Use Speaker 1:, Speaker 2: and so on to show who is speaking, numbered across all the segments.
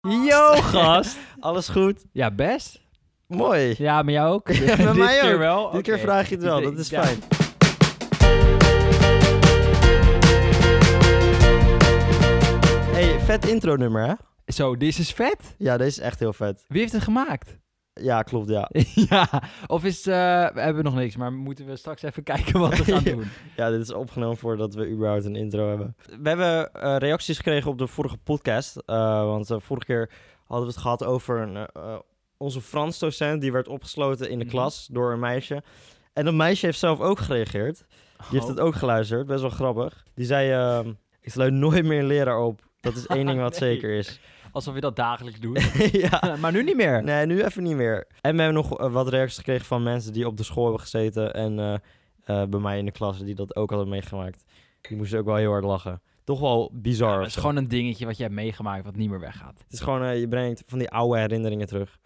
Speaker 1: Yo, gast.
Speaker 2: Alles goed?
Speaker 1: Ja, best.
Speaker 2: Mooi.
Speaker 1: Ja, met jou ook? Dus
Speaker 2: Ja, met
Speaker 1: Dit
Speaker 2: mij
Speaker 1: keer
Speaker 2: ook.
Speaker 1: wel?
Speaker 2: Dit keer
Speaker 1: Oké.
Speaker 2: vraag je het wel,
Speaker 1: Ik-
Speaker 2: dat is
Speaker 1: ja.
Speaker 2: fijn. hey, vet intro nummer hè?
Speaker 1: Zo, dit is vet.
Speaker 2: Ja, deze is echt heel vet.
Speaker 1: Wie heeft het gemaakt?
Speaker 2: Ja, klopt, ja.
Speaker 1: ja, of is... eh, we hebben nog niks, maar moeten we straks even kijken wat we gaan
Speaker 2: Ja.
Speaker 1: doen.
Speaker 2: Ja, dit is opgenomen voordat we überhaupt een intro hebben. We hebben eh, reacties gekregen op de vorige podcast. eh, want eh, vorige keer hadden we het gehad over een, eh, eh, onze Frans docent. Die werd opgesloten in de
Speaker 1: Mhm.
Speaker 2: klas door een meisje. En dat meisje heeft zelf ook gereageerd. Die heeft het ook geluisterd, best wel grappig. Die zei, ehm, ik sluit nooit meer een leraar op. Dat is één ding wat
Speaker 1: Nee.
Speaker 2: zeker is.
Speaker 1: Alsof je dat dagelijks doet.
Speaker 2: ja.
Speaker 1: maar nu niet meer.
Speaker 2: Nee, nu even niet meer. En we hebben nog eh, wat reacties gekregen van mensen die op de school hebben gezeten. En eh, eh, bij mij in de klas, die dat ook hadden meegemaakt. Die moesten ook wel heel hard lachen. Toch wel bizar.
Speaker 1: Ja,
Speaker 2: of
Speaker 1: het is
Speaker 2: zo.
Speaker 1: gewoon een dingetje wat je hebt meegemaakt wat niet meer weggaat.
Speaker 2: Het is gewoon, eh, je brengt van die oude herinneringen terug.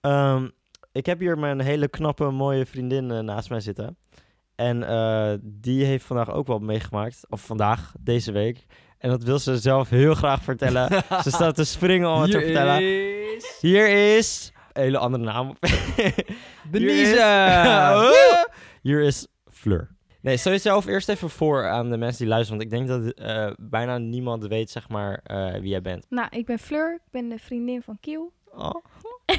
Speaker 2: Ehm, ik heb hier mijn hele knappe, mooie vriendin eh, naast mij zitten. En eh, die heeft vandaag ook wat meegemaakt. Of vandaag, deze week. En dat wil ze zelf heel graag vertellen. ze staat te springen om het te vertellen.
Speaker 1: is...
Speaker 2: Hier is... Een hele andere naam.
Speaker 1: Denise!
Speaker 2: Hier is, hier is Fleur. Nee, stel jezelf eerst even voor aan de mensen die luisteren. Want ik denk dat eh, bijna niemand weet, zeg maar, eh, wie jij bent.
Speaker 3: Nou, ik ben Fleur, ik ben de vriendin van Kiel.
Speaker 2: Oh.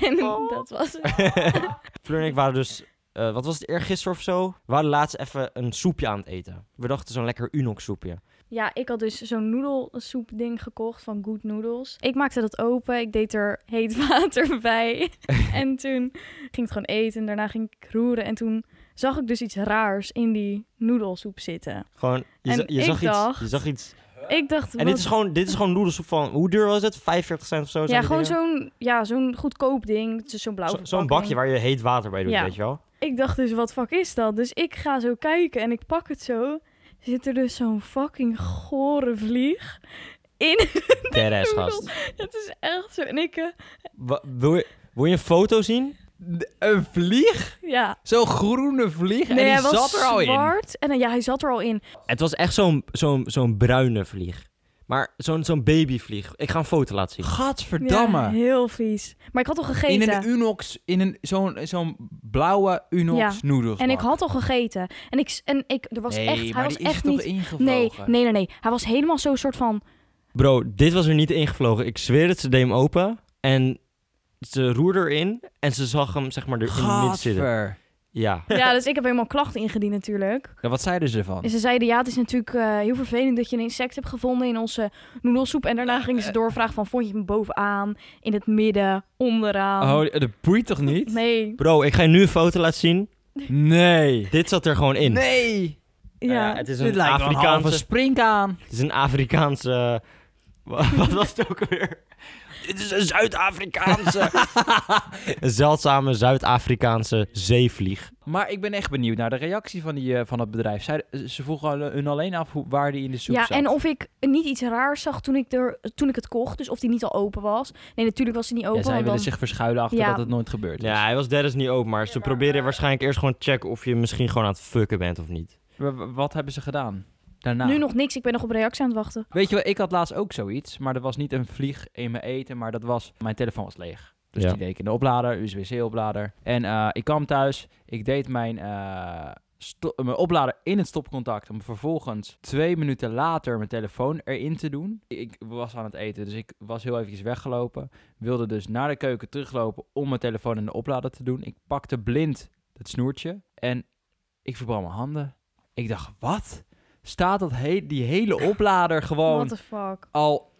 Speaker 3: En
Speaker 2: Oh.
Speaker 3: dat was het.
Speaker 2: Fleur en ik waren dus, eh, wat was het, eergisteren of zo? We waren laatst even een soepje aan het eten. We dachten zo'n lekker Unox soepje.
Speaker 3: Ja, ik had dus zo'n noedelsoep ding gekocht van Good Noodles. Ik maakte dat open, ik deed er heet water bij. en toen ging het gewoon eten en daarna ging ik roeren. En toen zag ik dus iets raars in die noedelsoep zitten.
Speaker 2: Gewoon, je,
Speaker 3: En
Speaker 2: za- je
Speaker 3: ik
Speaker 2: zag iets,
Speaker 3: dacht-
Speaker 2: je zag iets.
Speaker 3: Ik dacht,
Speaker 2: En dit
Speaker 3: wat-
Speaker 2: is gewoon, dit is gewoon noedelsoep van, hoe duur was het? 45 cent of zo? zijn die
Speaker 3: Ja, gewoon
Speaker 2: dingen?
Speaker 3: zo'n ja, zo'n goedkoop ding. Het is Zo'n blauw
Speaker 2: Zo- zo'n bakje waar je heet water bij doet,
Speaker 3: Ja.
Speaker 2: weet je wel?
Speaker 3: Ik dacht dus, wat fuck is dat? Dus ik ga zo kijken en ik pak het zo. Zit er dus zo'n fucking gore vlieg in
Speaker 2: Teres, gast.
Speaker 3: Het is echt zo. En ik, eh,
Speaker 2: Wa- wil, je, wil je een foto zien?
Speaker 1: Een vlieg?
Speaker 3: ja.
Speaker 1: Zo'n groene vlieg?
Speaker 3: Nee,
Speaker 1: en
Speaker 3: hij
Speaker 1: die
Speaker 3: was
Speaker 1: zat er al in.
Speaker 3: zwart. En eh, ja, hij zat er al in.
Speaker 2: Het was echt zo'n zo'n zo'n bruine vlieg. Maar zo'n zo'n babyvlieg. Ik ga een foto laten zien.
Speaker 1: Gadverdamme.
Speaker 3: Ja, heel vies. Maar ik had al
Speaker 1: In
Speaker 3: gegeten.
Speaker 1: een Unox, in een, zo'n, zo'n blauwe Unox
Speaker 3: Ja.
Speaker 1: noedels.
Speaker 3: en ik had al gegeten. En ik, s- en ik er was
Speaker 1: nee,
Speaker 3: echt, hij
Speaker 1: maar
Speaker 3: was
Speaker 1: die is
Speaker 3: echt
Speaker 1: er
Speaker 3: niet...
Speaker 1: toch ingevlogen?
Speaker 3: Nee, nee, nee, nee. Hij was helemaal zo'n soort van...
Speaker 2: Bro, dit was er niet ingevlogen. Ik zweer het, ze deed hem open. En ze roerde erin. En ze zag hem, zeg maar, er in het midden zitten.
Speaker 1: Gadver.
Speaker 2: Ja.
Speaker 3: Ja, dus ik heb helemaal klachten ingediend natuurlijk.
Speaker 1: Ja, wat zeiden ze ervan?
Speaker 3: En ze zeiden, ja, het is natuurlijk eh, heel vervelend dat je een insect hebt gevonden in onze noedelsoep. En daarna gingen
Speaker 1: eh.
Speaker 3: ze doorvragen van, vond je hem bovenaan, in het midden, onderaan?
Speaker 1: Oh, dat boeit toch niet?
Speaker 3: Nee,
Speaker 2: Bro, ik ga je nu een foto laten zien.
Speaker 1: Nee.
Speaker 2: Dit zat er gewoon in.
Speaker 1: Nee.
Speaker 2: Nou
Speaker 3: ja.
Speaker 2: het is
Speaker 1: Dit
Speaker 2: een
Speaker 1: lijkt wel een halve
Speaker 2: Afrikaanse...
Speaker 1: springkaan.
Speaker 2: het is een Afrikaanse... wa- Wat was het ook alweer? Dit is een Zuid-Afrikaanse... een zeldzame Zuid-Afrikaanse zeevlieg.
Speaker 1: Maar ik ben echt benieuwd naar de reactie van, die, eh, van het bedrijf. Zij, ze vroegen al- hun alleen af hoe, waar die in de soep
Speaker 3: ja,
Speaker 1: zat.
Speaker 3: en of ik niet iets raars zag toen ik, er, toen ik het kocht. Dus of die niet al open was. Nee, natuurlijk was die niet
Speaker 1: Ja,
Speaker 3: open.
Speaker 1: zij
Speaker 3: want
Speaker 1: willen
Speaker 3: dan-
Speaker 1: zich verschuilen achter
Speaker 3: Ja.
Speaker 1: dat het nooit gebeurd is.
Speaker 2: Ja, hij was derde niet open, maar ze probeerden waarschijnlijk eerst gewoon te checken of je misschien gewoon aan het fucken bent of niet.
Speaker 1: W- w- Wat hebben ze gedaan daarna?
Speaker 3: Nu nog niks, ik ben nog op reactie aan het wachten.
Speaker 1: Weet je wel, ik had laatst ook zoiets, maar dat was niet een vlieg in mijn eten, maar dat was, mijn telefoon was leeg. Dus
Speaker 2: Ja.
Speaker 1: die deed ik in de oplader, USB-C-oplader. En eh, ik kwam thuis, ik deed mijn, eh, sto- mijn oplader in het stopcontact om vervolgens twee minuten later mijn telefoon erin te doen. Ik was aan het eten, dus ik was heel eventjes weggelopen. Wilde dus naar de keuken teruglopen om mijn telefoon in de oplader te doen. Ik pakte blind het snoertje en ik verbrand mijn handen. Ik dacht, wat? Staat dat he- die hele oplader
Speaker 3: What
Speaker 1: gewoon
Speaker 3: the fuck.
Speaker 1: al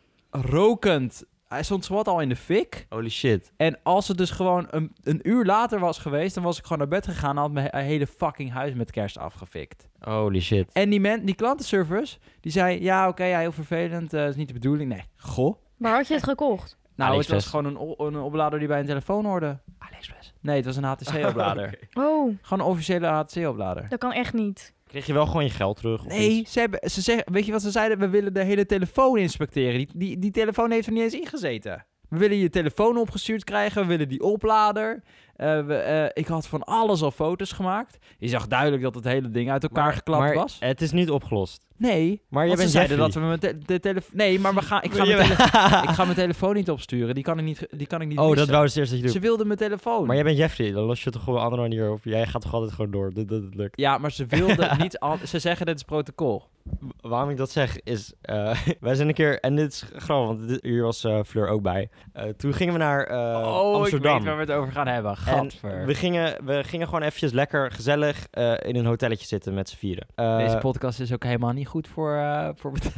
Speaker 1: rokend. Hij stond zowat al in de fik.
Speaker 2: Holy shit.
Speaker 1: En als het dus gewoon een, een uur later was geweest, dan was ik gewoon naar bed gegaan en had mijn he- hele fucking huis met kerst afgefikt.
Speaker 2: Holy shit.
Speaker 1: En die, men, die klantenservice, die zei, ja oké, ja, heel vervelend, eh is niet de bedoeling. Nee, goh.
Speaker 3: Waar had je het gekocht?
Speaker 1: Nou, het was
Speaker 2: AliExpress.
Speaker 1: gewoon een, o- een oplader die bij een telefoon hoorde. AliExpress? Nee, het was een HTC-oplader.
Speaker 3: Oh,
Speaker 1: Gewoon een officiële HTC-oplader.
Speaker 3: dat kan echt niet.
Speaker 2: Kreeg je wel gewoon je geld terug? of
Speaker 1: Nee,
Speaker 2: iets?
Speaker 1: ze, hebben, ze zeggen, weet je wat ze zeiden? We willen de hele telefoon inspecteren. Die, die, die telefoon heeft er niet eens ingezeten. We willen je telefoon opgestuurd krijgen. We willen die oplader. Eh, we, eh, ik had van alles al foto's gemaakt. Je zag duidelijk dat het hele ding uit elkaar geklapt
Speaker 2: maar
Speaker 1: was.
Speaker 2: het is niet opgelost.
Speaker 1: Nee,
Speaker 2: Maar je
Speaker 1: want ze
Speaker 2: bent
Speaker 1: zeiden dat
Speaker 2: Jeffrey.
Speaker 1: we mijn te- de telefoon... Nee, maar we gaan, ik, ga mijn
Speaker 2: Jawel.
Speaker 1: tele- ik ga mijn telefoon niet opsturen. Die kan ik niet, die kan ik niet
Speaker 2: Oh, dat
Speaker 1: missen.
Speaker 2: wou ze eerst dat je doet.
Speaker 1: Ze wilden mijn telefoon.
Speaker 2: Maar jij bent Jeffrey, dan los je het toch gewoon op een andere manier op. Jij gaat toch altijd gewoon door, dat, dat, dat lukt.
Speaker 1: Ja, maar ze wilden niet... Al... Ze zeggen dit is protocol.
Speaker 2: W- Waarom ik dat zeg is, eh, wij zijn een keer, en dit is grappig, want dit- hier was eh, Fleur ook bij. Eh, toen gingen we naar eh, Amsterdam.
Speaker 1: Oh, ik weet waar we het over gaan hebben.
Speaker 2: en
Speaker 1: Gadver.
Speaker 2: we gingen, we gingen gewoon eventjes lekker gezellig eh, in een hotelletje zitten met z'n vieren. Eh,
Speaker 1: Deze podcast is ook helemaal niet goed voor, eh, voor, bet-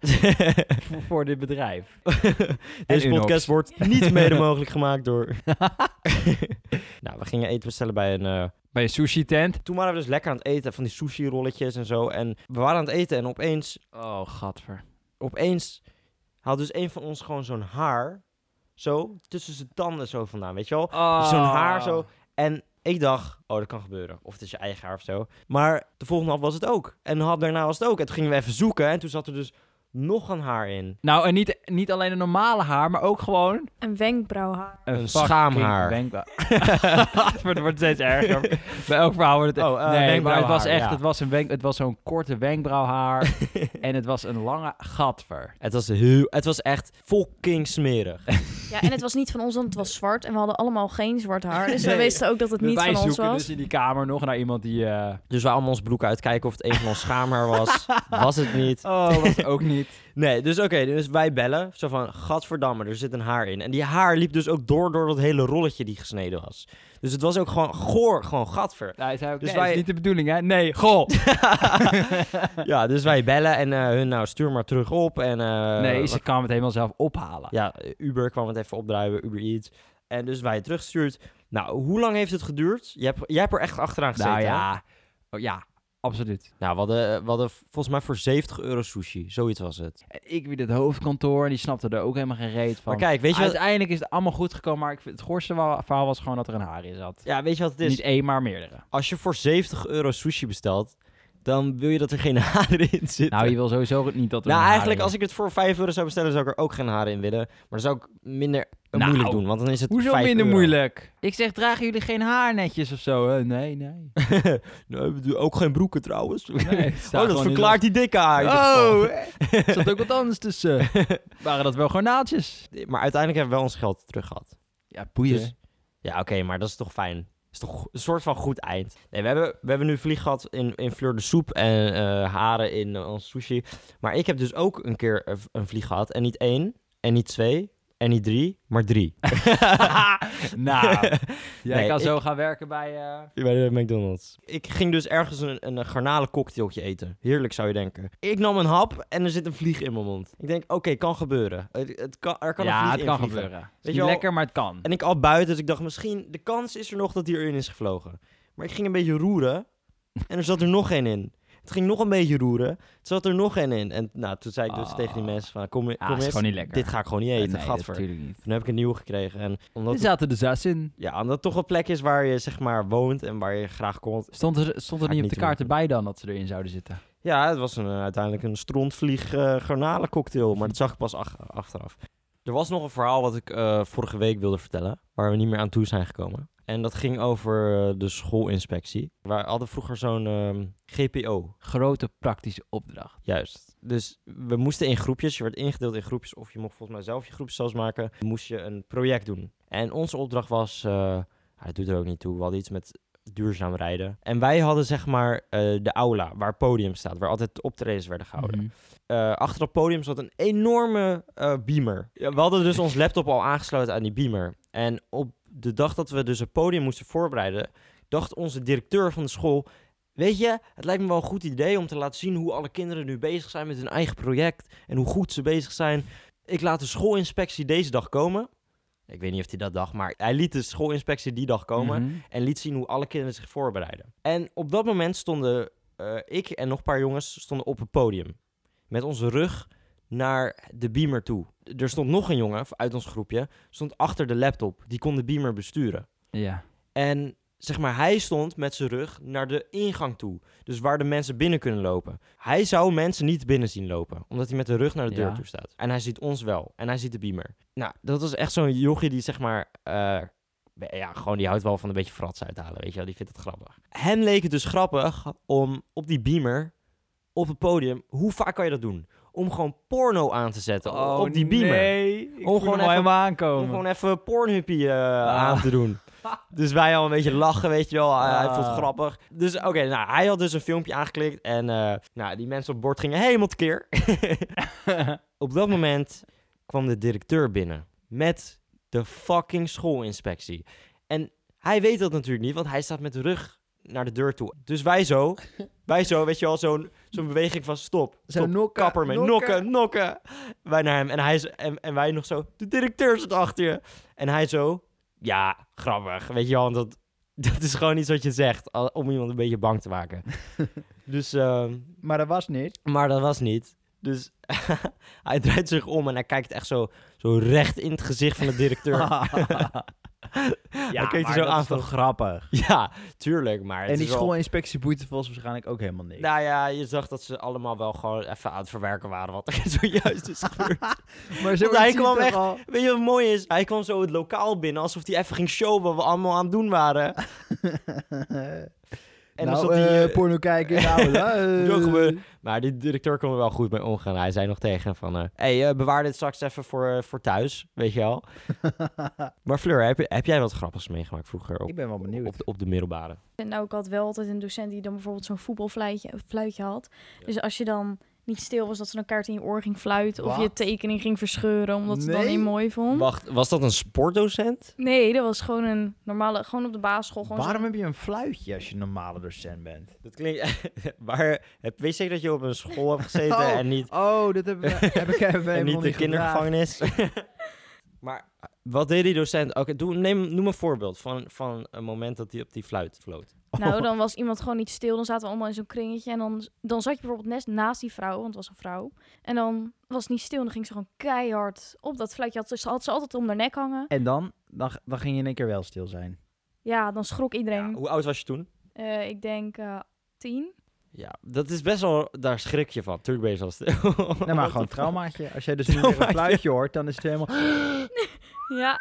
Speaker 1: voor, voor dit bedrijf.
Speaker 2: Deze
Speaker 1: Unox.
Speaker 2: podcast wordt niet mede mogelijk gemaakt door... nou, we gingen eten bestellen bij een... eh,
Speaker 1: Bij een sushi tent.
Speaker 2: toen waren we dus lekker aan het eten van die sushi rolletjes en zo. En we waren aan het eten en opeens
Speaker 1: Oh, gadver.
Speaker 2: opeens had dus een van ons gewoon zo'n haar. Zo, tussen zijn tanden zo vandaan, weet je wel?
Speaker 1: Oh.
Speaker 2: Zo'n haar zo. En ik dacht, oh, dat kan gebeuren. Of het is je eigen haar of zo. Maar de volgende hap was het ook. En de hap daarna was het ook. En toen gingen we even zoeken. En toen zat er dus nog een haar in.
Speaker 1: Nou, en niet, niet alleen een normale haar, maar ook gewoon...
Speaker 3: Een wenkbrauwhaar.
Speaker 2: Een
Speaker 1: fucking
Speaker 2: schaamhaar.
Speaker 1: wenkbrauw. Gadver, het wordt steeds erger. Bij elk verhaal wordt het...
Speaker 2: Oh, eh,
Speaker 1: nee, maar het was
Speaker 2: wenkbrauwhaar,
Speaker 1: echt...
Speaker 2: ja.
Speaker 1: Het was, een wenk, het was zo'n korte wenkbrauwhaar. en het was een lange gadver.
Speaker 2: Het was, heel, het was echt fucking smerig.
Speaker 3: Ja, en het was niet van ons, want het was zwart. En we hadden allemaal geen zwart haar. Dus
Speaker 1: Nee.
Speaker 3: we wisten ook dat het niet
Speaker 1: Wij
Speaker 3: van ons
Speaker 1: zoeken
Speaker 3: was.
Speaker 1: dus in die kamer nog naar iemand die... eh,
Speaker 2: Dus we allemaal ons broek uitkijken of het een van ons schaamhaar was. Was het niet.
Speaker 1: Oh, was ook niet.
Speaker 2: Nee, dus oké, dus wij bellen. Zo van, gadverdamme, er zit een haar in. En die haar liep dus ook door door dat hele rolletje die gesneden was. Dus het was ook gewoon goor, gewoon gadver.
Speaker 1: Hij zei ook,
Speaker 2: Dus
Speaker 1: nee,
Speaker 2: wij-
Speaker 1: is niet de bedoeling, hè? Nee, goh.
Speaker 2: ja, dus wij bellen en eh, hun, nou, stuur maar terug op. En, eh,
Speaker 1: nee, ze kwam het helemaal zelf ophalen.
Speaker 2: Ja, Uber kwam het even opdruiven, Uber Eats. En dus wij het terugstuurt. Nou, hoe lang heeft het geduurd? Jij hebt, jij hebt er echt achteraan gezeten,
Speaker 1: nou
Speaker 2: hè?
Speaker 1: ja. Oh, ja, absoluut.
Speaker 2: Nou, we hadden, we hadden volgens mij voor 70 euro sushi. Zoiets was het.
Speaker 1: Ik weer het hoofdkantoor en die snapte er ook helemaal geen reet van.
Speaker 2: Maar kijk, weet je, wat,
Speaker 1: Uiteindelijk is het allemaal goed gekomen, maar ik vind, het goorste wa- verhaal was gewoon dat er een haar in zat.
Speaker 2: ja, weet je wat het is?
Speaker 1: Niet één, maar meerdere.
Speaker 2: Als je voor 70 euro sushi bestelt, dan wil je dat er geen haren in zitten.
Speaker 1: Nou, je wil sowieso niet dat er
Speaker 2: Nou,
Speaker 1: een
Speaker 2: eigenlijk
Speaker 1: haar
Speaker 2: als
Speaker 1: in-
Speaker 2: ik het voor 5 euro zou bestellen, zou ik er ook geen haren in willen. Maar dan zou ik minder eh,
Speaker 1: Nou,
Speaker 2: moeilijk doen, want dan is het
Speaker 1: Hoezo
Speaker 2: 5
Speaker 1: minder
Speaker 2: euro.
Speaker 1: moeilijk? Ik zeg, dragen jullie geen haar netjes of zo? hè? Nee, nee.
Speaker 2: nee, we doen Nou, ook geen broeken trouwens.
Speaker 1: nee het staat
Speaker 2: oh, dat
Speaker 1: gewoon in
Speaker 2: verklaart die dikke haar. in ieder
Speaker 1: Oh,
Speaker 2: geval.
Speaker 1: er zat ook wat anders tussen. Waren dat wel gewoon naaldjes?
Speaker 2: Maar uiteindelijk hebben we wel ons geld terug gehad.
Speaker 1: Ja,
Speaker 2: Dus- ja, oké, maar dat is toch fijn. is toch een soort van goed eind. Nee, we hebben, we hebben nu vlieg gehad in, in Fleur de Soep en eh, haren in eh, ons sushi. Maar ik heb dus ook een keer een v- een vlieg gehad. En niet één, en niet twee, en niet drie, maar drie.
Speaker 1: nou, jij
Speaker 2: Nee,
Speaker 1: kan
Speaker 2: ik-
Speaker 1: zo gaan werken bij... eh,
Speaker 2: Bij de McDonald's. Ik ging dus ergens een, een garnalencocktailtje eten. Heerlijk zou je denken. Ik nam een hap en er zit een vlieg in mijn mond. Ik denk, oké, kan gebeuren. Het, het kan, er kan een
Speaker 1: ja,
Speaker 2: vlieg
Speaker 1: het kan
Speaker 2: invliegen.
Speaker 1: gebeuren. Het is
Speaker 2: je
Speaker 1: niet
Speaker 2: wel-
Speaker 1: lekker, maar het kan.
Speaker 2: En ik al buiten, dus ik dacht misschien, de kans is er nog dat die erin is gevlogen. Maar ik ging een beetje roeren en er zat er nog één in. Het ging nog een beetje roeren, er zat er nog één in. En nou, toen zei ik dus
Speaker 1: Ah.
Speaker 2: tegen die mensen van, kom,
Speaker 1: Ja,
Speaker 2: kom
Speaker 1: is
Speaker 2: eens,
Speaker 1: gewoon niet lekker.
Speaker 2: dit ga ik gewoon niet eten,
Speaker 1: nee,
Speaker 2: gadver.
Speaker 1: natuurlijk Dus niet.
Speaker 2: Toen heb ik een nieuwe gekregen. En
Speaker 1: Er
Speaker 2: omdat,
Speaker 1: zaten de zes in.
Speaker 2: ja, omdat het toch een plek is waar je zeg maar woont en waar je graag komt.
Speaker 1: Stond er, stond er
Speaker 2: Ga ik
Speaker 1: niet op
Speaker 2: niet
Speaker 1: de
Speaker 2: doen.
Speaker 1: kaarten bij dan dat ze erin zouden zitten?
Speaker 2: Ja, het was een, eh, uiteindelijk een strontvlieg eh garnalencocktail, maar dat zag ik pas ach- achteraf. Er was nog een verhaal wat ik eh, vorige week wilde vertellen, waar we niet meer aan toe zijn gekomen. En dat ging over eh, de schoolinspectie. We hadden vroeger zo'n ehm, GPO,
Speaker 1: Grote praktische opdracht.
Speaker 2: juist. Dus we moesten in groepjes, je werd ingedeeld in groepjes, of je mocht volgens mij zelf je groepjes zelfs maken. Dan Moest je een project doen. En onze opdracht was, eh, ah, dat doet er ook niet toe, we hadden iets met duurzaam rijden. En wij hadden zeg maar eh, de aula, waar het podium staat, waar altijd optredens werden gehouden
Speaker 1: Mhm.
Speaker 2: eh, achter het podium zat een enorme eh, beamer. Ja, we hadden dus ons laptop al aangesloten aan die beamer. En op de dag dat we dus het podium moesten voorbereiden, dacht onze directeur van de school. Weet je, het lijkt me wel een goed idee om te laten zien hoe alle kinderen nu bezig zijn met hun eigen project en hoe goed ze bezig zijn. Ik laat de schoolinspectie deze dag komen. Ik weet niet of hij dat dacht, maar hij liet de schoolinspectie die dag komen
Speaker 1: Mhm.
Speaker 2: en liet zien hoe alle kinderen zich voorbereiden. En op dat moment stonden eh, ik en nog een paar jongens stonden op het podium. Met onze rug naar de beamer toe. Er stond nog een jongen uit ons groepje, stond achter de laptop. Die kon de beamer besturen.
Speaker 1: Ja.
Speaker 2: En zeg maar, hij stond met zijn rug naar de ingang toe. Dus waar de mensen binnen kunnen lopen. Hij zou mensen niet binnen zien lopen, omdat hij met de rug naar de deur
Speaker 1: Ja.
Speaker 2: toe staat. En hij ziet ons wel. En hij ziet de beamer. Nou, dat was echt zo'n jochie die, zeg maar, eh, ja, gewoon die houdt wel van een beetje frats uithalen, weet je wel. Die vindt het grappig. Hem leek het dus grappig om op die beamer, op het podium, hoe vaak kan je dat doen? Om gewoon porno aan te zetten op die beamer.
Speaker 1: Oh, Nee, ik
Speaker 2: Om
Speaker 1: voel
Speaker 2: gewoon
Speaker 1: hem al
Speaker 2: even-
Speaker 1: helemaal
Speaker 2: Om
Speaker 1: aankomen.
Speaker 2: gewoon even pornhuppie eh, aan te doen. Dus wij al een beetje lachen, weet je wel. Hij- Hij vond het
Speaker 1: Ah.
Speaker 2: grappig. Dus oké, nou, hij had dus een filmpje aangeklikt. En eh, nou, die mensen op bord gingen helemaal tekeer. op dat moment kwam de directeur binnen. Met de fucking schoolinspectie. En hij weet dat natuurlijk niet, want hij staat met de rug naar de deur toe. Dus wij zo, wij zo, weet je wel, zo'n zo'n beweging van stop,
Speaker 1: Zo
Speaker 2: stop,
Speaker 1: nokken,
Speaker 2: kapper mee, nokken,
Speaker 1: nokken.
Speaker 2: nokken. Wij naar hem en, hij, is- en, en wij nog zo, de directeur zit achter je. En hij zo, ja, grappig, weet je wel, want dat, dat is gewoon iets wat je zegt, al- om iemand een beetje bang te maken. dus, ehm,
Speaker 1: maar dat was niet.
Speaker 2: maar dat was niet. Dus hij draait zich om en hij kijkt echt zo, zo recht in het gezicht van de directeur. hij kijkt er zo aan van,
Speaker 1: grappig.
Speaker 2: ja, tuurlijk, maar het
Speaker 1: En die
Speaker 2: is wel-
Speaker 1: schoolinspectie boeit volgens waarschijnlijk ook helemaal niks.
Speaker 2: Nou ja, je zag dat ze allemaal wel gewoon even aan het verwerken waren wat er zojuist is gebeurd.
Speaker 1: maar
Speaker 2: Want hij
Speaker 1: zie je
Speaker 2: kwam
Speaker 1: toch
Speaker 2: echt-
Speaker 1: al-
Speaker 2: Weet je wat mooi is? Hij kwam zo het lokaal binnen alsof hij even ging showen wat we allemaal aan het doen waren. En dan zat
Speaker 1: nou,
Speaker 2: die,
Speaker 1: eh,
Speaker 2: eh,
Speaker 1: porno kijken. Nou, eh,
Speaker 2: Zo gebeuren. maar die directeur kon er wel goed mee omgaan. Hij zei nog tegen hem van, hé, hey, eh, bewaar dit straks even voor, eh, voor thuis, weet je wel. maar Fleur, heb, je- heb jij wat grappigs meegemaakt vroeger op,
Speaker 1: Ik ben wel benieuwd.
Speaker 2: op, de- op de middelbare?
Speaker 3: En nou, ik had wel altijd een docent die dan bijvoorbeeld zo'n voetbalfluitje fluitje had. Dus als je dan niet stil was, dat ze een kaart in je oor ging fluiten. Of je
Speaker 1: Wat?
Speaker 3: tekening ging verscheuren, omdat ze het dan
Speaker 1: Nee.
Speaker 3: niet mooi
Speaker 1: Hm?
Speaker 3: vond.
Speaker 2: Wacht, was dat een sportdocent?
Speaker 3: Nee, dat was gewoon een normale, gewoon op de basisschool. Gewoon
Speaker 1: Waarom
Speaker 3: zo'n-
Speaker 1: heb je een fluitje als je een normale docent bent?
Speaker 2: Dat klinkt... maar heb, weet je zeker dat je op een school hebt gezeten
Speaker 1: Oh.
Speaker 2: en niet
Speaker 1: Oh, dat heb, heb ik even
Speaker 2: en niet de kindergevangenis. maar eh, wat deed die docent? Oké, doe- neem, noem een voorbeeld van, van een moment dat hij op die fluit floot.
Speaker 3: Nou, dan was iemand gewoon niet stil. Dan zaten we allemaal in zo'n kringetje. En dan, dan zat je bijvoorbeeld net naast die vrouw, want het was een vrouw. En dan was het niet stil. En dan ging ze gewoon keihard op dat fluitje. Had, ze- ze had ze altijd om haar nek hangen.
Speaker 1: En dan, dan, dan ging je in één keer wel stil zijn. Nou,
Speaker 3: Ja, dan schrok
Speaker 2: Ja,
Speaker 3: iedereen.
Speaker 2: hoe oud was je toen?
Speaker 3: Eh, ik denk eh, tien.
Speaker 2: Ja, dat is best wel... Daar schrik je van. Tuurlijk ben je zo stil.
Speaker 1: Nee, Nou, maar gewoon een traumaatje. Als jij dus nu weer een
Speaker 2: Traumaatje.
Speaker 1: fluitje hoort, dan is het helemaal...
Speaker 3: Ja.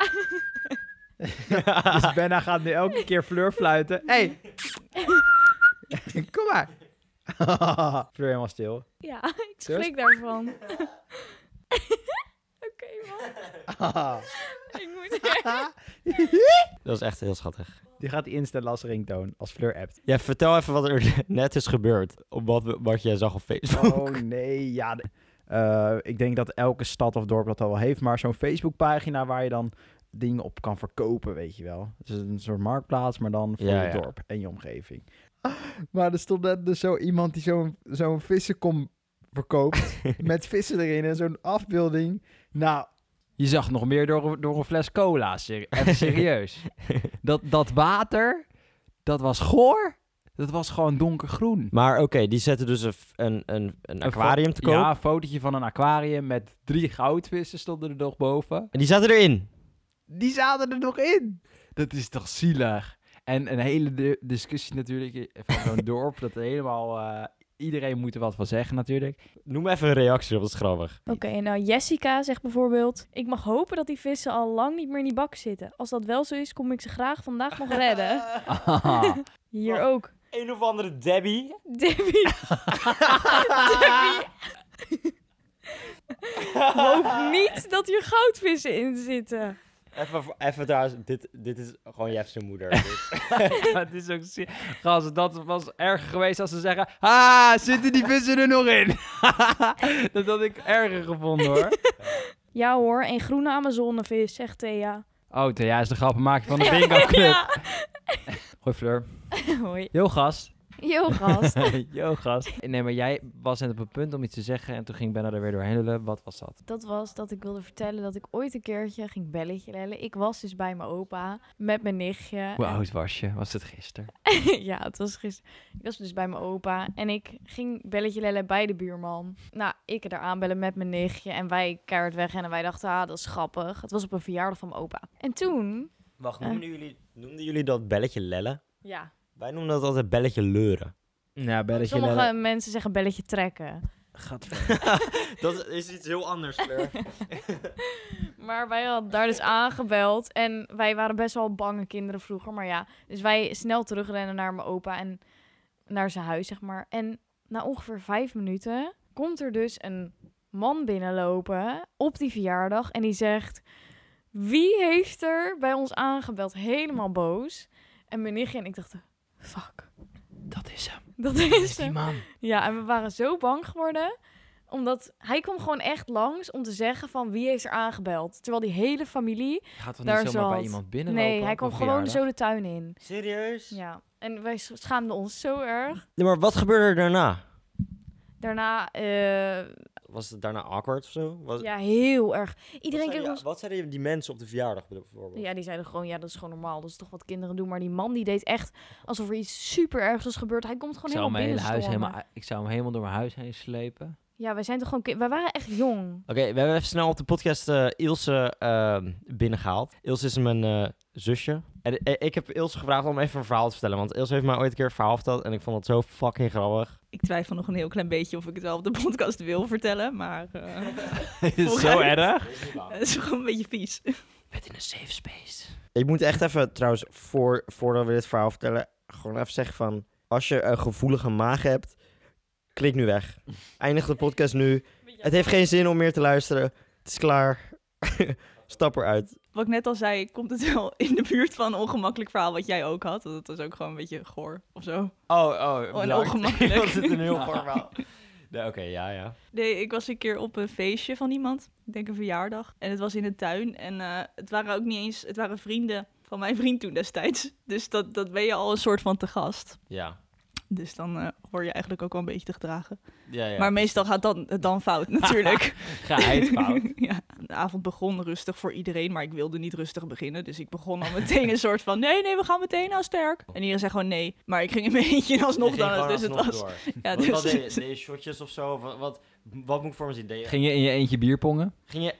Speaker 1: Dus Benna gaat nu elke keer Fleur fluiten. hey. kom maar. Fleur helemaal stil.
Speaker 3: Ja, ik
Speaker 1: Serieus?
Speaker 3: schrik daarvan. Oké, man. Ik moet
Speaker 2: Dat is echt heel schattig.
Speaker 1: Die gaat instant als ringtoon, als Fleur appt.
Speaker 2: Ja, vertel even wat er net is gebeurd. Op wat, we- wat jij zag op Facebook.
Speaker 1: Oh nee, ja. de- eh, ik denk dat elke stad of dorp dat al wel heeft, maar zo'n Facebookpagina waar je dan dingen op kan verkopen, weet je wel. Het is een soort marktplaats, maar dan voor
Speaker 2: Ja,
Speaker 1: je
Speaker 2: ja.
Speaker 1: dorp en je omgeving. Maar er stond net dus zo iemand die zo'n zo'n vissenkom verkoopt, met vissen erin en zo'n afbeelding. Nou, je zag nog meer door, door een fles cola, ser- even serieus. dat, dat water, dat was goor, dat was gewoon donkergroen.
Speaker 2: Maar oké, die zetten dus een, f- een, een, een aquarium te koop.
Speaker 1: Ja, een fotootje van een aquarium met drie goudvissen stonden er nog boven.
Speaker 2: En die zaten erin.
Speaker 1: Die zaten er nog in. Dat is toch zielig. En een hele di- discussie natuurlijk van zo'n dorp. Dat er helemaal... eh, iedereen moet er wat van zeggen natuurlijk.
Speaker 2: Noem even een reactie op, dat is grappig.
Speaker 3: Oké, nou Jessica zegt bijvoorbeeld: Ik mag hopen dat die vissen al lang niet meer in die bak zitten. Als dat wel zo is, kom ik ze graag vandaag nog redden. Hier
Speaker 2: Wacht.
Speaker 3: ook.
Speaker 2: Eh, Een of andere Debbie.
Speaker 3: Debbie. Debbie. Hoop niet dat hier goudvissen in zitten.
Speaker 2: Even, voor- even trouwens, dit, dit is gewoon Jeff zijn moeder. dus.
Speaker 1: het is ook zielig. Gast, dat was erg geweest als ze zeggen... Ah, zitten die vissen er nog in? dat had ik erger gevonden hoor.
Speaker 3: Ja hoor, een groene Amazonevis, zegt Thea.
Speaker 1: Oh, Thea is de grappenmaker van de bingo club.
Speaker 3: Ja.
Speaker 1: Hoi Fleur.
Speaker 3: Hoi.
Speaker 1: Yo gast.
Speaker 3: Yo, gast.
Speaker 1: Yo, gast. Nee, maar jij was net op het punt om iets te zeggen en toen ging Benna er weer doorheen lullen. Wat was dat?
Speaker 3: Dat was dat ik wilde vertellen dat ik ooit een keertje ging belletje lellen. Ik was dus bij mijn opa met mijn nichtje.
Speaker 1: Hoe oud was je? Was het gisteren?
Speaker 3: ja, het was gisteren. Ik was dus bij mijn opa en ik ging belletje lellen bij de buurman. Nou, ik er aanbellen met mijn nichtje en wij keihard weg en wij dachten, ah, dat is grappig. Het was op een verjaardag van mijn opa. En toen,
Speaker 2: Wacht,
Speaker 3: noemden
Speaker 2: jullie, noemden jullie dat belletje lellen?
Speaker 3: Ja.
Speaker 2: Wij noemen dat altijd belletje leuren.
Speaker 1: Ja, belletje
Speaker 3: Sommige mensen zeggen belletje trekken.
Speaker 2: dat is iets heel anders, Fleur.
Speaker 3: Maar wij hadden daar dus aangebeld. En wij waren best wel bange kinderen vroeger. Maar ja, dus wij snel terugrennen naar mijn opa en naar zijn huis, zeg maar. En na ongeveer vijf minuten komt er dus een man binnenlopen op die verjaardag. En die zegt, wie heeft er bij ons aangebeld? Helemaal boos. En mijn nichtje en ik dachten, fuck,
Speaker 1: Dat is hem.
Speaker 3: dat
Speaker 1: Dat
Speaker 3: is
Speaker 1: is die
Speaker 3: hem.
Speaker 1: man.
Speaker 3: Ja, en we waren zo bang geworden. Omdat hij kwam gewoon echt langs om te zeggen van wie heeft er aangebeld. Terwijl die hele familie...
Speaker 1: Gaat toch
Speaker 3: Daar
Speaker 1: niet zomaar bij
Speaker 3: zat.
Speaker 1: iemand binnenlopen?
Speaker 3: Nee, hij
Speaker 1: op
Speaker 3: kwam
Speaker 1: een
Speaker 3: gewoon
Speaker 1: verjaardag?
Speaker 3: zo de tuin in.
Speaker 2: Serieus?
Speaker 3: Ja, en wij sch- schaamden ons zo erg.
Speaker 2: Nee, maar wat gebeurde er daarna?
Speaker 3: Daarna, eh,
Speaker 2: Was het daarna awkward of zo? Was,
Speaker 3: ja, heel erg. Iedereen
Speaker 2: wat,
Speaker 3: kreeg
Speaker 2: zeiden,
Speaker 3: ons...
Speaker 2: wat zeiden die mensen op de verjaardag bijvoorbeeld?
Speaker 3: Ja, die zeiden gewoon, ja, dat is gewoon normaal. Dat is toch wat kinderen doen. Maar die man die deed echt alsof er iets super ergs was gebeurd. Hij komt
Speaker 1: Ik
Speaker 3: gewoon
Speaker 1: zou,
Speaker 3: helemaal
Speaker 1: mijn hele
Speaker 3: binnen
Speaker 1: huis helemaal, ik zou hem helemaal door mijn huis heen slepen.
Speaker 3: Ja, wij zijn toch gewoon... ki- Wij waren echt jong.
Speaker 2: Oké, we hebben even snel op de podcast eh, Ilse ehm, binnengehaald. Ilse is mijn eh, zusje. En eh, ik heb Ilse gevraagd om even een verhaal te vertellen. Want Ilse heeft mij ooit een keer een verhaal verteld. En ik vond het zo fucking grappig.
Speaker 4: Ik twijfel nog een heel klein beetje of ik het wel op de podcast wil vertellen, maar eh,
Speaker 2: Het is zo
Speaker 4: Vooruit.
Speaker 2: erg.
Speaker 4: het is gewoon een beetje vies.
Speaker 1: Met in een safe space.
Speaker 2: Ik moet echt even, trouwens, voor, voordat we dit verhaal vertellen, gewoon even zeggen van... Als je een gevoelige maag hebt, klik nu weg. Eindig de podcast nu. Het heeft geen zin om meer te luisteren. Het is klaar. Stap eruit.
Speaker 4: Wat ik net al zei, komt het wel in de buurt van een ongemakkelijk verhaal wat jij ook had. Want dat was ook gewoon een beetje goor of zo.
Speaker 2: Oh, oh.
Speaker 4: Oh, en bedankt. ongemakkelijk. Was het een heel
Speaker 2: kort verhaal? Nee, oké, ja, ja.
Speaker 4: Nee, ik was een keer op een feestje van iemand. Ik denk een verjaardag. En het was in de tuin. En eh, het waren ook niet eens, het waren vrienden van mijn vriend toen destijds. Dus dat, dat ben je al een soort van te gast.
Speaker 2: Ja.
Speaker 4: Dus dan eh, hoor je eigenlijk ook wel een beetje te gedragen.
Speaker 2: ja, ja.
Speaker 4: Maar meestal gaat dan, het dan fout natuurlijk.
Speaker 1: Geheid fout.
Speaker 4: ja, de avond begon rustig voor iedereen, maar ik wilde niet rustig beginnen. Dus ik begon al meteen een soort van, nee, nee, we gaan meteen al sterk. En iedereen zei gewoon nee. Maar ik ging in mijn eentje alsnog dan. Dus het was... Ja,
Speaker 2: Wat- Wat
Speaker 4: dus,
Speaker 2: deed je? Deed je shotjes of zo? Of Wat, wat, wat moet ik voor me zien? Deed je-
Speaker 1: Ging je in je eentje bier pongen?
Speaker 2: ging je...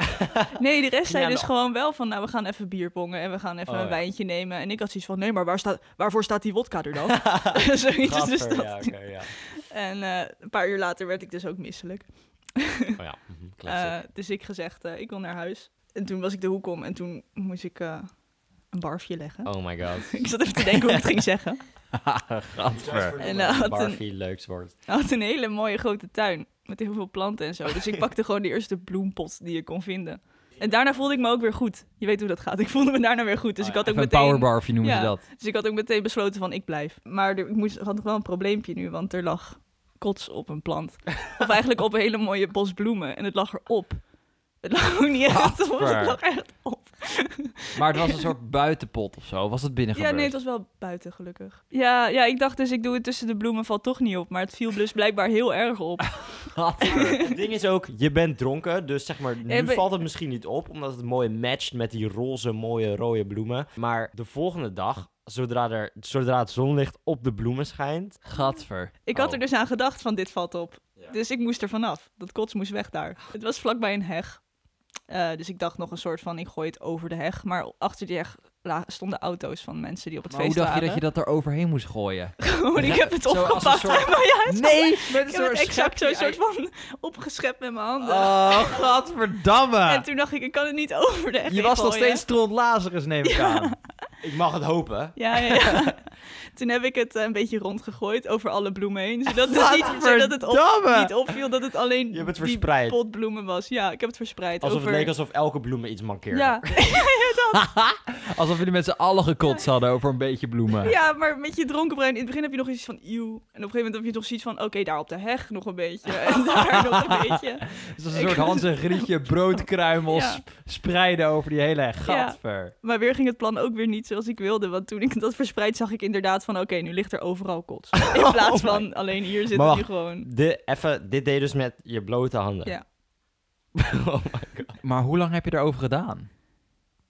Speaker 4: nee, de rest zei
Speaker 2: aan de-
Speaker 4: dus gewoon wel van, nou, we gaan even bier pongen en we gaan even
Speaker 2: Oh,
Speaker 4: een
Speaker 2: ja.
Speaker 4: wijntje nemen. En ik had zoiets van, nee, maar waar staat, waarvoor staat die wodka er dan? Zoiets dus
Speaker 2: Gaffer,
Speaker 4: dat.
Speaker 2: ja, oké, ja.
Speaker 4: En eh, een paar uur later werd ik dus ook misselijk.
Speaker 2: Oh ja, mhm, classic.
Speaker 4: Eh, dus ik gezegd, eh, ik wil naar huis. En toen was ik de hoek om en toen moest ik eh, een barfje leggen.
Speaker 2: oh my god.
Speaker 4: Ik zat even te denken hoe ik het ging zeggen.
Speaker 2: Gadver.
Speaker 4: En, eh, had
Speaker 2: Barfie, leuks woord.
Speaker 4: Hij had een hele mooie grote tuin met heel veel planten en zo. Dus ik pakte gewoon de eerste bloempot die ik kon vinden. En daarna voelde ik me ook weer goed. Je weet hoe dat gaat. Ik voelde me daarna weer goed. Dus,
Speaker 2: Oh
Speaker 4: ik, had ook
Speaker 1: Ah, Even een
Speaker 4: meteen,
Speaker 1: powerbarfje noemen ze
Speaker 4: Ja.
Speaker 1: dat.
Speaker 4: dus ik had ook meteen besloten van ik blijf. Maar er, ik moest, had nog wel een probleempje nu, want er lag kots op een plant. Of eigenlijk op een hele mooie bos bloemen. En het lag erop. Het lag ook niet echt op,
Speaker 2: Gadver.
Speaker 4: het lag echt op.
Speaker 1: Maar het was een soort buitenpot of zo. Was het binnen
Speaker 4: Ja, nee, het was wel buiten gelukkig. Ja, ja, ik dacht dus ik doe het tussen de bloemen, valt toch niet op. Maar het viel dus blijkbaar heel erg op.
Speaker 2: het ding is ook, je bent dronken, dus zeg maar, nu
Speaker 4: Ja, maar-
Speaker 2: valt het misschien niet op, omdat het mooi matcht met die roze, mooie, rode bloemen. Maar de volgende dag, zodra, er, zodra het zonlicht op de bloemen schijnt,
Speaker 1: Gadver.
Speaker 4: Ik had
Speaker 2: Oh.
Speaker 4: er dus aan gedacht van dit valt op. Dus ik moest er vanaf. Dat kots moest weg daar. Het was vlakbij een heg. Eh, dus ik dacht nog een soort van, ik gooi het over de heg. Maar achter die heg la- stonden auto's van mensen die op het
Speaker 1: Maar hoe
Speaker 4: feest
Speaker 1: dacht je
Speaker 4: waren.
Speaker 1: dat je dat er overheen moest gooien?
Speaker 4: Gewoon, ik heb het
Speaker 1: Zo als een
Speaker 4: opgepakt
Speaker 1: soort-
Speaker 4: met mijn hand.
Speaker 1: Nee! Met een
Speaker 4: Ik heb het exact zo'n soort van opgeschept met mijn handen.
Speaker 1: Oh,
Speaker 4: En
Speaker 1: gadverdamme!
Speaker 4: toen dacht ik, ik kan het niet over de heg
Speaker 1: Je
Speaker 4: heen
Speaker 1: was nog
Speaker 4: gooien.
Speaker 1: steeds Lazarus, neem ik aan.
Speaker 2: ik mag het hopen.
Speaker 4: Ja, ja, ja. Toen heb ik het eh, een beetje rondgegooid over alle bloemen heen. Zodat het, niet, zodat het op,
Speaker 1: Gadverdamme!
Speaker 4: niet opviel dat het alleen
Speaker 2: Je hebt het
Speaker 4: die
Speaker 2: verspreid.
Speaker 4: pot bloemen was. Ja, ik heb het verspreid.
Speaker 2: Alsof
Speaker 4: over...
Speaker 2: het leek alsof elke bloemen iets mankeerde.
Speaker 4: Ja,
Speaker 1: Alsof jullie met z'n allen gekotst hadden over een beetje bloemen.
Speaker 4: ja, maar met je dronken brein, in het begin heb je nog iets van eeuw. En op een gegeven moment heb je toch zoiets van, oké, daar op de heg nog een beetje. En daar nog een beetje.
Speaker 1: Het was een
Speaker 4: Ik-
Speaker 1: soort Hans en Grietje broodkruimels
Speaker 4: Ja.
Speaker 1: sp- spreiden over die hele gatver.
Speaker 4: Maar weer ging het plan ook weer niet zoals ik wilde. Want toen ik dat verspreid, zag ik inderdaad van, oké, nu ligt er overal kots. In plaats van, alleen hier zit
Speaker 2: Oh Maar
Speaker 4: het nu
Speaker 2: wacht.
Speaker 4: gewoon.
Speaker 2: De, even, dit deed je dus met je blote handen.
Speaker 4: Ja.
Speaker 2: oh my god.
Speaker 1: Maar hoe lang heb je erover gedaan?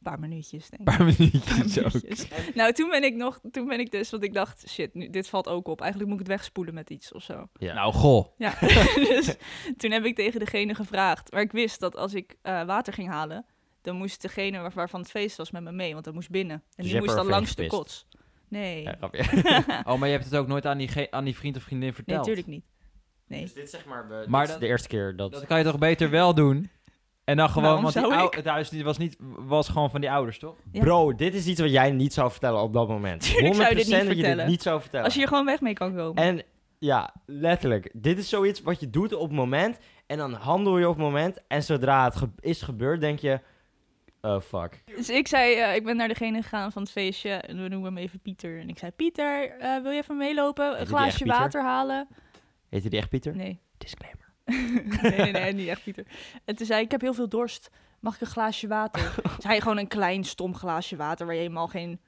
Speaker 4: Een paar minuutjes, denk
Speaker 1: Een paar
Speaker 4: ik.
Speaker 1: minuutjes ook.
Speaker 4: Minuutjes. Nou, toen ben ik nog, toen ben ik dus, want ik dacht, shit, nu, dit valt ook op. Eigenlijk moet ik het wegspoelen met iets of zo.
Speaker 2: Ja.
Speaker 1: Nou, goh.
Speaker 4: Ja, dus toen heb ik tegen degene gevraagd. Maar ik wist dat als ik eh, water ging halen, dan moest degene waar- waarvan het feest was met me mee, want dat moest binnen. En
Speaker 2: Dus je
Speaker 4: die
Speaker 2: hebt
Speaker 4: moest
Speaker 2: er
Speaker 4: dan langs
Speaker 2: overheen
Speaker 4: de kots. Nee.
Speaker 2: Ja,
Speaker 4: Nee,
Speaker 2: grapje.
Speaker 1: Oh, maar je hebt het ook nooit aan die, ge- aan die vriend of vriendin verteld.
Speaker 4: natuurlijk niet. Nee.
Speaker 2: Dus dit zeg maar, we-
Speaker 1: Maar
Speaker 2: dit is
Speaker 1: dat-
Speaker 2: de eerste keer dat...
Speaker 1: Dat kan je toch beter wel doen? En dan gewoon,
Speaker 4: Waarom
Speaker 1: want die
Speaker 4: zou
Speaker 1: ou-
Speaker 4: ik?
Speaker 1: het huis die was, niet, was gewoon van die ouders, toch?
Speaker 4: Ja.
Speaker 2: Bro, dit is iets wat jij niet zou vertellen op dat moment.
Speaker 4: Tuurlijk zou je dit
Speaker 2: 100%
Speaker 4: niet
Speaker 2: dat je dit
Speaker 4: vertellen.
Speaker 2: niet zou vertellen.
Speaker 4: Als je hier gewoon weg mee kan komen.
Speaker 2: En ja, letterlijk. Dit is zoiets wat je doet op het moment. En dan handel je op het moment. En zodra het ge- is gebeurd, denk je... Oh, fuck.
Speaker 4: Dus ik zei, eh, ik ben naar degene gegaan van het feestje. En we noemen hem even Pieter. En ik zei, Pieter, eh, wil je even meelopen? Een
Speaker 2: echt
Speaker 4: glaasje
Speaker 2: Pieter?
Speaker 4: water halen?
Speaker 2: Heet hij die echt Pieter?
Speaker 4: Nee.
Speaker 2: Disclaimer.
Speaker 4: nee, nee, nee, niet echt Pieter. En toen zei hij, ik heb heel veel dorst. Mag ik een glaasje water? Zei gewoon een klein, stom glaasje water... waar je helemaal geen,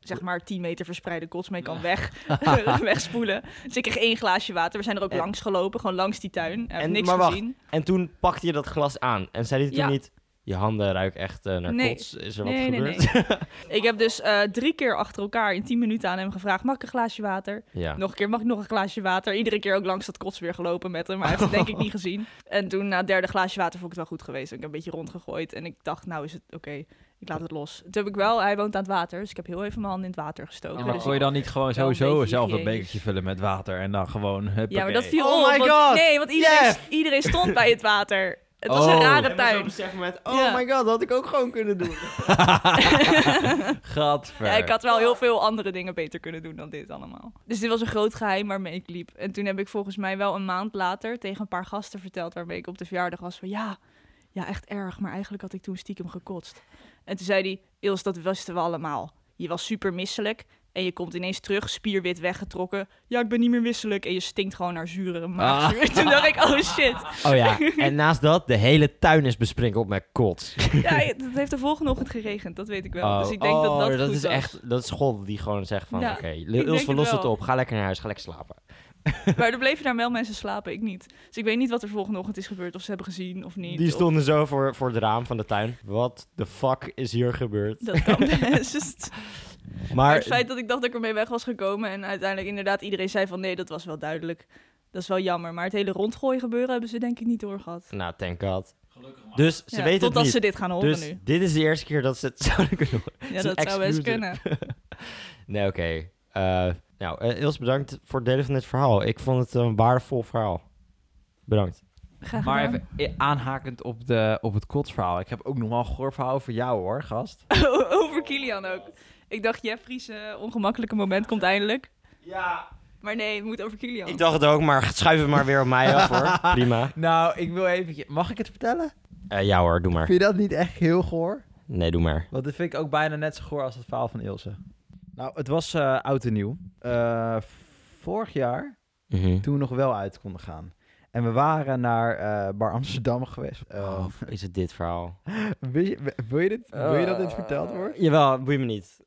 Speaker 4: zeg maar, 10 meter verspreide kots mee kan weg, wegspoelen. Dus ik kreeg één glaasje water. We zijn er ook
Speaker 2: En-
Speaker 4: langs gelopen, gewoon langs die tuin. Hij heeft
Speaker 2: En-
Speaker 4: niks
Speaker 2: maar wacht,
Speaker 4: gezien.
Speaker 2: En toen pakte je dat glas aan. En zei hij toen
Speaker 4: Ja.
Speaker 2: niet... Je handen ruiken echt eh, naar
Speaker 4: Nee.
Speaker 2: kots. Is er wat
Speaker 4: Nee, nee,
Speaker 2: gebeurd?
Speaker 4: nee. Ik heb dus eh, drie keer achter elkaar in 10 minuten aan hem gevraagd... mag ik een glaasje water?
Speaker 2: ja.
Speaker 4: Nog een keer, mag ik nog een glaasje water? Iedere keer ook langs dat kots weer gelopen met hem, maar hij heeft het denk ik niet gezien. En toen na het derde glaasje water vond ik het wel goed geweest. Ik heb een beetje rondgegooid en ik dacht, nou is het oké, ik laat het los. Toen heb ik wel, hij woont aan het water, dus ik heb heel even mijn handen in het water gestoken.
Speaker 1: Oh, maar
Speaker 4: Dus
Speaker 1: kon je
Speaker 4: ik-
Speaker 1: dan niet gewoon
Speaker 4: Wel een
Speaker 1: sowieso
Speaker 4: beetje
Speaker 1: zelf een
Speaker 4: hygiënisch.
Speaker 1: bekertje vullen met water en dan gewoon...
Speaker 4: ja, maar dat
Speaker 1: huppakee.
Speaker 4: viel
Speaker 2: Oh
Speaker 4: op,
Speaker 2: my
Speaker 4: want-
Speaker 2: God!
Speaker 4: nee, want iedereen,
Speaker 2: Jeff!
Speaker 4: iedereen stond bij het water. Het was
Speaker 1: Oh.
Speaker 4: een
Speaker 2: En
Speaker 4: rare
Speaker 2: met zo'n
Speaker 4: tuin.
Speaker 2: besef moment, oh
Speaker 4: Ja.
Speaker 2: my god, dat had ik ook gewoon kunnen doen.
Speaker 1: Gadver.
Speaker 4: Ja, ik had wel heel veel andere dingen beter kunnen doen dan dit allemaal. Dus dit was een groot geheim waarmee ik liep. En toen heb ik volgens mij wel een maand later tegen een paar gasten verteld waarmee ik op de verjaardag was van ja, ja echt erg, maar eigenlijk had ik toen stiekem gekotst. En toen zei hij, Ils, dat wisten we allemaal. Je was super misselijk en je komt ineens terug, spierwit weggetrokken. Ja, ik ben niet meer misselijk en je stinkt gewoon naar zure
Speaker 2: Ah.
Speaker 4: maagzuur. Toen dacht ik, oh shit.
Speaker 2: Oh ja, en naast dat, de hele tuin is besprinkeld met kots.
Speaker 4: Ja, het heeft de volgende ochtend geregend, dat weet ik wel. dus ik denk dat dat, goed
Speaker 2: is
Speaker 4: was.
Speaker 2: echt, Oh, dat is God die gewoon zegt van,
Speaker 4: Ja,
Speaker 2: oké,
Speaker 4: denk
Speaker 2: Ils, we
Speaker 4: het
Speaker 2: lossen het
Speaker 4: wel.
Speaker 2: op, ga lekker naar huis, ga lekker slapen.
Speaker 4: Maar er bleven daar wel mensen slapen, ik niet. Dus ik weet niet wat er volgende ochtend is gebeurd, of ze hebben gezien of niet.
Speaker 2: Die
Speaker 4: of-
Speaker 2: stonden zo voor, voor het raam van de tuin. Wat de fuck is hier gebeurd?
Speaker 4: Dat kan best. Dus het- maar het
Speaker 2: Maar
Speaker 4: feit dat ik dacht dat ik ermee weg was gekomen en uiteindelijk inderdaad iedereen zei van nee, dat was wel duidelijk. Dat is wel jammer, maar het hele rondgooi gebeuren hebben ze denk ik niet doorgehad.
Speaker 2: Nou, thank god. Dus ze
Speaker 4: Ja,
Speaker 2: weten het
Speaker 4: totdat
Speaker 2: niet.
Speaker 4: ze dit gaan horen
Speaker 2: dus
Speaker 4: nu.
Speaker 2: dit is de eerste keer dat ze het zouden kunnen horen.
Speaker 4: Ja,
Speaker 2: is
Speaker 4: dat
Speaker 2: een
Speaker 4: zou best
Speaker 2: excuse.
Speaker 4: kunnen.
Speaker 2: Nee, oké. Eh, nou, eh, Ils, bedankt voor het delen van dit verhaal. Ik vond het een waardevol verhaal. Bedankt.
Speaker 4: Graag
Speaker 1: Maar
Speaker 4: gedaan.
Speaker 1: even i- aanhakend op, de, op het kotsverhaal. Ik heb ook nog wel een goor verhaal over jou hoor, gast.
Speaker 4: Over Kilian ook. Ik dacht, Jeffries eh, ongemakkelijke moment komt eindelijk.
Speaker 2: Ja.
Speaker 4: Maar nee, het moet over Kilian.
Speaker 2: Ik dacht het ook, maar schuif het maar weer op mij af hoor. Prima.
Speaker 1: Nou, ik wil even... Mag ik het vertellen?
Speaker 2: Eh, ja hoor, doe maar.
Speaker 1: Vind je dat niet echt heel goor?
Speaker 2: Nee, doe maar.
Speaker 1: Want dat vind ik ook bijna net zo goor als het verhaal van Ilse. Nou, het was eh, oud en nieuw. Eh, vorig jaar
Speaker 2: Mhm.
Speaker 1: toen we nog wel uit konden gaan. En we waren naar eh, Bar Amsterdam geweest. Eh,
Speaker 2: Oh, is het dit verhaal? Eh,
Speaker 1: wil, je, wil, je dit, wil je dat dit verteld wordt?
Speaker 2: Jawel, boeit me niet.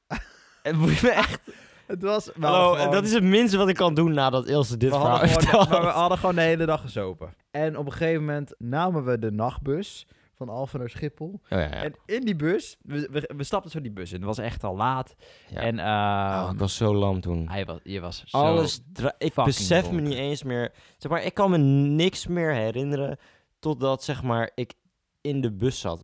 Speaker 2: Het boeit me echt.
Speaker 1: Ah. Het was wel
Speaker 2: Hallo, eh,
Speaker 1: gewoon-
Speaker 2: dat is het minste wat ik kan doen nadat Ilse dit
Speaker 1: we
Speaker 2: verhaal
Speaker 1: hadden, gewoon,
Speaker 2: vertelt.
Speaker 1: maar we hadden gewoon de hele dag gezopen. En op een gegeven moment namen we de nachtbus van Alphen naar Schiphol.
Speaker 2: Oh, ja, ja.
Speaker 1: En in die bus, we, we, we stapten zo die bus in. Het was echt al laat.
Speaker 2: Ja.
Speaker 1: En
Speaker 2: Oh,
Speaker 1: ehm,
Speaker 2: ik was zo lam toen.
Speaker 1: hij was, je was zo...
Speaker 2: Alles dra- ik
Speaker 1: fucking
Speaker 2: besef me
Speaker 1: dronken.
Speaker 2: niet eens meer. Zeg maar, ik kan me niks meer herinneren totdat zeg maar ik in de bus zat.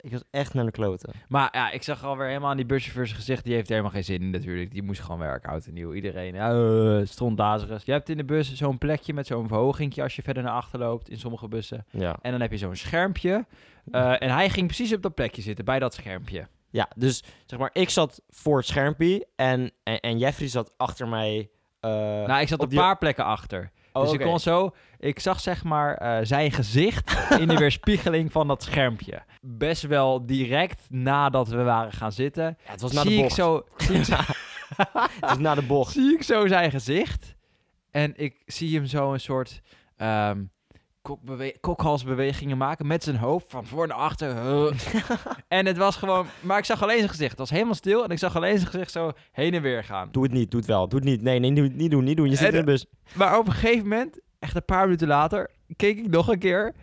Speaker 2: Ik was echt naar de kloten.
Speaker 1: Maar ja, ik zag alweer helemaal aan die buschauffeurs gezicht. Die heeft er helemaal geen zin in natuurlijk. Die moest gewoon werken, oud en nieuw. Iedereen eh stond Je hebt in de bus zo'n plekje met zo'n verhogingje als je verder naar achter loopt in sommige bussen.
Speaker 2: Ja.
Speaker 1: En dan heb je zo'n schermpje. Eh, en hij ging precies op dat plekje zitten, bij dat schermpje.
Speaker 2: Ja, dus zeg maar, ik zat voor het schermpje en, en, en Jeffrey zat achter mij. eh,
Speaker 1: nou, ik zat
Speaker 2: op
Speaker 1: een
Speaker 2: die-
Speaker 1: paar plekken achter.
Speaker 2: oh,
Speaker 1: dus
Speaker 2: oké.
Speaker 1: ik kon zo... Ik zag zeg maar eh, zijn gezicht in de weerspiegeling van dat schermpje. Best wel direct nadat we waren gaan zitten.
Speaker 2: Ja, het was na de
Speaker 1: zie ik
Speaker 2: bocht.
Speaker 1: zo... Zie ik zo
Speaker 2: Het was na de bocht.
Speaker 1: zie ik zo zijn gezicht. En ik zie hem zo een soort ehm, kokbewe- kokhalsbewegingen maken met zijn hoofd van voor naar achter. Huh. en het was gewoon, maar ik zag alleen zijn gezicht. Het was helemaal stil en ik zag alleen zijn gezicht zo heen en weer gaan.
Speaker 2: Doe het niet, doe het wel. Doe het niet. Nee, nee, niet doen, niet doen. Niet doen. Je zit
Speaker 1: En-
Speaker 2: in de bus.
Speaker 1: Maar op een gegeven moment, echt een paar minuten later, keek ik nog een keer.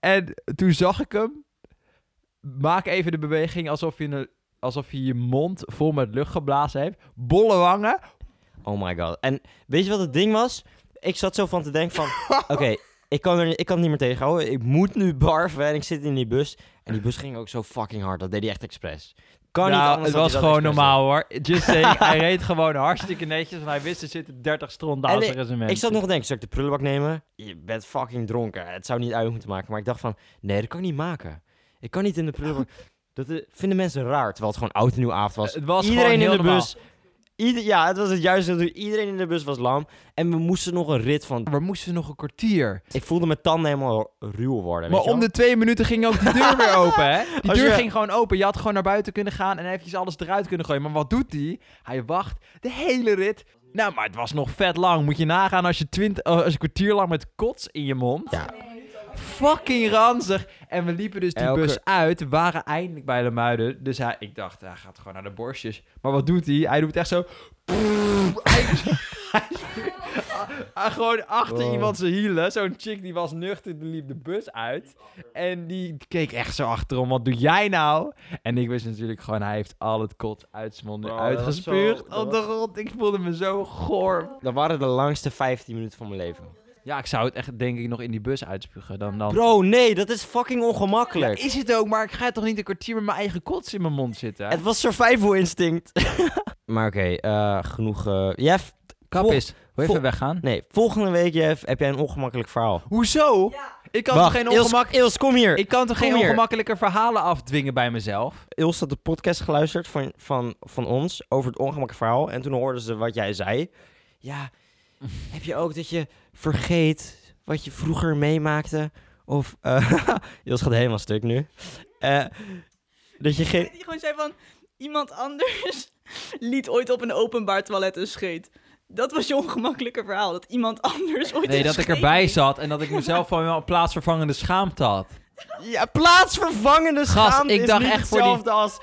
Speaker 1: En toen zag ik hem. Maak even de beweging alsof je, een- alsof je je mond vol met lucht geblazen hebt. Bolle wangen.
Speaker 2: Oh my god. En weet je wat het ding was? Ik zat zo van te denken van... Oké, ik kan, er, ik kan het niet meer tegenhouden. Ik moet nu barven en ik zit in die bus. En die bus ging ook zo fucking hard. Dat deed hij echt expres. Kan niet
Speaker 1: nou,
Speaker 2: anders
Speaker 1: het
Speaker 2: dan
Speaker 1: was
Speaker 2: hij dat
Speaker 1: gewoon
Speaker 2: expres
Speaker 1: normaal hoor. Just saying, hij reed gewoon hartstikke netjes. Want hij wist, er zitten 30
Speaker 2: En
Speaker 1: strondazen in
Speaker 2: deed. Ik zat nog te denken, zou ik de prullenbak nemen? Je bent fucking dronken. Het zou niet uit moeten maken. Maar ik dacht van, nee, dat kan ik niet maken. Ik kan niet in de prullenbak. Dat eh, vinden mensen raar, terwijl het gewoon oud en nieuw avond was.
Speaker 1: Het was
Speaker 2: Iedereen
Speaker 1: gewoon
Speaker 2: in
Speaker 1: heel
Speaker 2: de bus. Ieder, ja, het was het juiste. doel. Iedereen in de bus was lam. En we moesten nog een rit van...
Speaker 1: normaal. We moesten nog een kwartier.
Speaker 2: Ik voelde mijn tanden helemaal ruw worden.
Speaker 1: Maar
Speaker 2: weet je wel?
Speaker 1: om de twee minuten ging ook die deur weer open, hè? Die
Speaker 2: Als
Speaker 1: deur
Speaker 2: je-
Speaker 1: ging gewoon open. Je had gewoon naar buiten kunnen gaan en eventjes alles eruit kunnen gooien. Maar wat doet die? Hij wacht de hele rit. Nou, maar het was nog vet lang. Moet je nagaan als je, twint, eh, als je een kwartier lang met kots in je mond.
Speaker 2: Ja.
Speaker 1: Fucking ranzig. En we liepen dus die
Speaker 2: Elke-
Speaker 1: bus uit. We waren eindelijk bij de Muiden. Dus hij, ik dacht, hij gaat gewoon naar de borstjes. Maar wat doet hij? Hij doet echt zo... hij, hij- hij- gewoon achter
Speaker 2: Wow.
Speaker 1: iemand zijn hielen. Zo'n chick die was nuchter, die liep de bus uit. En die keek echt zo achterom. Wat doe jij nou? En ik wist natuurlijk gewoon, hij heeft al het kot uit zijn mond
Speaker 2: Bro, dat was
Speaker 1: uitgespuugd.
Speaker 2: zo- dat
Speaker 1: Op de grond. Ik voelde me zo goor.
Speaker 2: Dat waren de langste 15 minuten van mijn leven.
Speaker 1: Ja, ik zou het echt denk ik nog in die bus uitspugen. Dan, dan...
Speaker 2: Bro, nee, dat is fucking ongemakkelijk.
Speaker 1: Is het ook, maar ik ga toch niet een kwartier met mijn eigen kots in mijn mond zitten?
Speaker 2: Het was survival instinct. maar oké, eh, genoeg. eh Jeff,
Speaker 1: Kap
Speaker 2: vol-
Speaker 1: is, wil je
Speaker 2: vol-
Speaker 1: even weggaan?
Speaker 2: nee, volgende week, Jeff, heb jij een ongemakkelijk verhaal.
Speaker 1: Hoezo? Ik kan toch geen, ongemak...
Speaker 2: Ils, Ils, kom hier.
Speaker 1: ik kan toch geen
Speaker 2: Kom hier.
Speaker 1: ongemakkelijke verhalen afdwingen bij mezelf?
Speaker 2: Ils had de podcast geluisterd van, van, van ons over het ongemakkelijk verhaal. En toen hoorden ze wat jij zei. Ja, heb je ook dat je vergeet wat je vroeger meemaakte? Of, eh Ils gaat helemaal stuk nu. Eh, dat je geen...
Speaker 4: Die gewoon zei van, iemand anders liet ooit op een openbaar toilet een scheet. Dat was je ongemakkelijke verhaal, dat iemand anders ooit
Speaker 1: Nee,
Speaker 4: een
Speaker 1: dat ik
Speaker 4: scheet
Speaker 1: erbij
Speaker 4: liet.
Speaker 1: zat en dat ik mezelf van wel plaatsvervangende schaamte had.
Speaker 2: Ja, plaatsvervangende
Speaker 1: Gast,
Speaker 2: schaamte
Speaker 1: ik
Speaker 2: is
Speaker 1: dacht
Speaker 2: niet
Speaker 1: echt voor die-
Speaker 2: hetzelfde als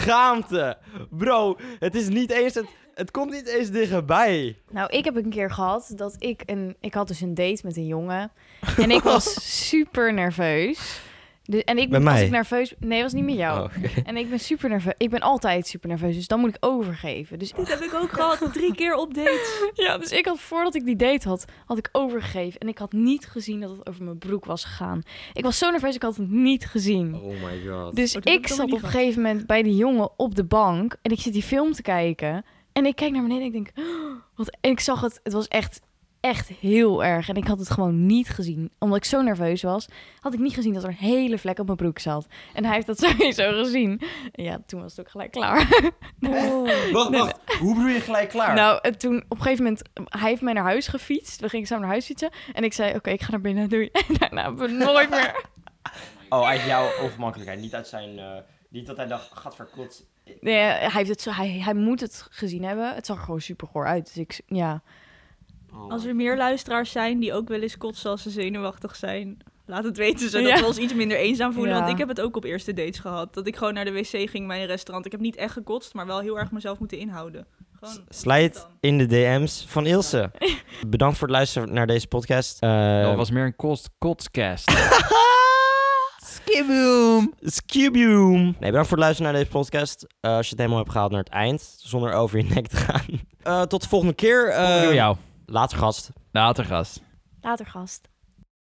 Speaker 2: schaamte. Bro, het is niet eens... Het, het komt niet eens dichtbij.
Speaker 3: Nou, ik heb een keer gehad dat ik een... Ik had dus een date met een jongen. En ik was super nerveus. De, en ik
Speaker 2: Met
Speaker 3: ben
Speaker 2: mij? Oh,
Speaker 3: Als ik nerveus... Nee, was niet met
Speaker 1: Oh,
Speaker 3: jou. En ik ben super nerveus. Ik ben altijd super nerveus, dus dan moet ik overgeven. Dus,
Speaker 4: Dit heb ik ook gehad, drie keer op dates.
Speaker 3: ja, dus ik had voordat ik die date had, had ik overgegeven. En ik had niet gezien dat het over mijn broek was gegaan. Ik was zo nerveus, ik had het niet gezien.
Speaker 2: Oh my god.
Speaker 3: Dus
Speaker 4: Oh, dat heb
Speaker 3: ik
Speaker 4: ik allemaal
Speaker 3: zat op
Speaker 4: niet
Speaker 3: een
Speaker 4: gehad.
Speaker 3: gegeven moment bij die jongen op de bank en ik zit die film te kijken. En ik kijk naar beneden en ik denk, "Oh, wat? En ik zag het, het was echt, echt heel erg. En ik had het gewoon niet gezien. Omdat ik zo nerveus was, had ik niet gezien dat er een hele vlek op mijn broek zat. En hij heeft dat sowieso gezien. En ja, toen was het ook gelijk klaar.
Speaker 2: Wacht, wacht. Hoe bedoel je gelijk klaar?
Speaker 3: Nou, en toen op een gegeven moment, hij heeft mij naar huis gefietst. We gingen samen naar huis fietsen. En ik zei, oké, ik ga naar binnen, doei. En daarna hebben we nooit meer
Speaker 2: Oh, uit jouw ongemakkelijkheid. Niet uit zijn... eh, niet dat hij dacht, gaat verkot.
Speaker 3: Nee, hij, heeft het zo, hij, hij moet het gezien hebben. Het zag er gewoon super goor uit. Dus ik, ja.
Speaker 2: Oh.
Speaker 4: Als er meer luisteraars zijn die ook wel eens kotsen als ze zenuwachtig zijn, laat het weten zodat
Speaker 3: Ja.
Speaker 4: we ons iets minder eenzaam voelen.
Speaker 3: Ja.
Speaker 4: Want ik heb het ook op eerste dates gehad. Dat ik gewoon naar de wc ging bij een restaurant. Ik heb niet echt gekotst, maar wel heel erg mezelf moeten inhouden. Gewoon,
Speaker 2: Slijt in de DM's van Ilse. Bedankt voor het luisteren naar deze podcast. Eh,
Speaker 1: Dat was meer een kost kotscast. Skibboom!
Speaker 2: Skibium. Nee, bedankt voor het luisteren naar deze podcast. Eh, als je het helemaal hebt gehaald naar het eind, zonder over je nek te gaan. Eh, tot de volgende keer. Eh,
Speaker 1: Doe jou.
Speaker 2: Later, gast.
Speaker 1: Later, gast.
Speaker 3: Later, gast.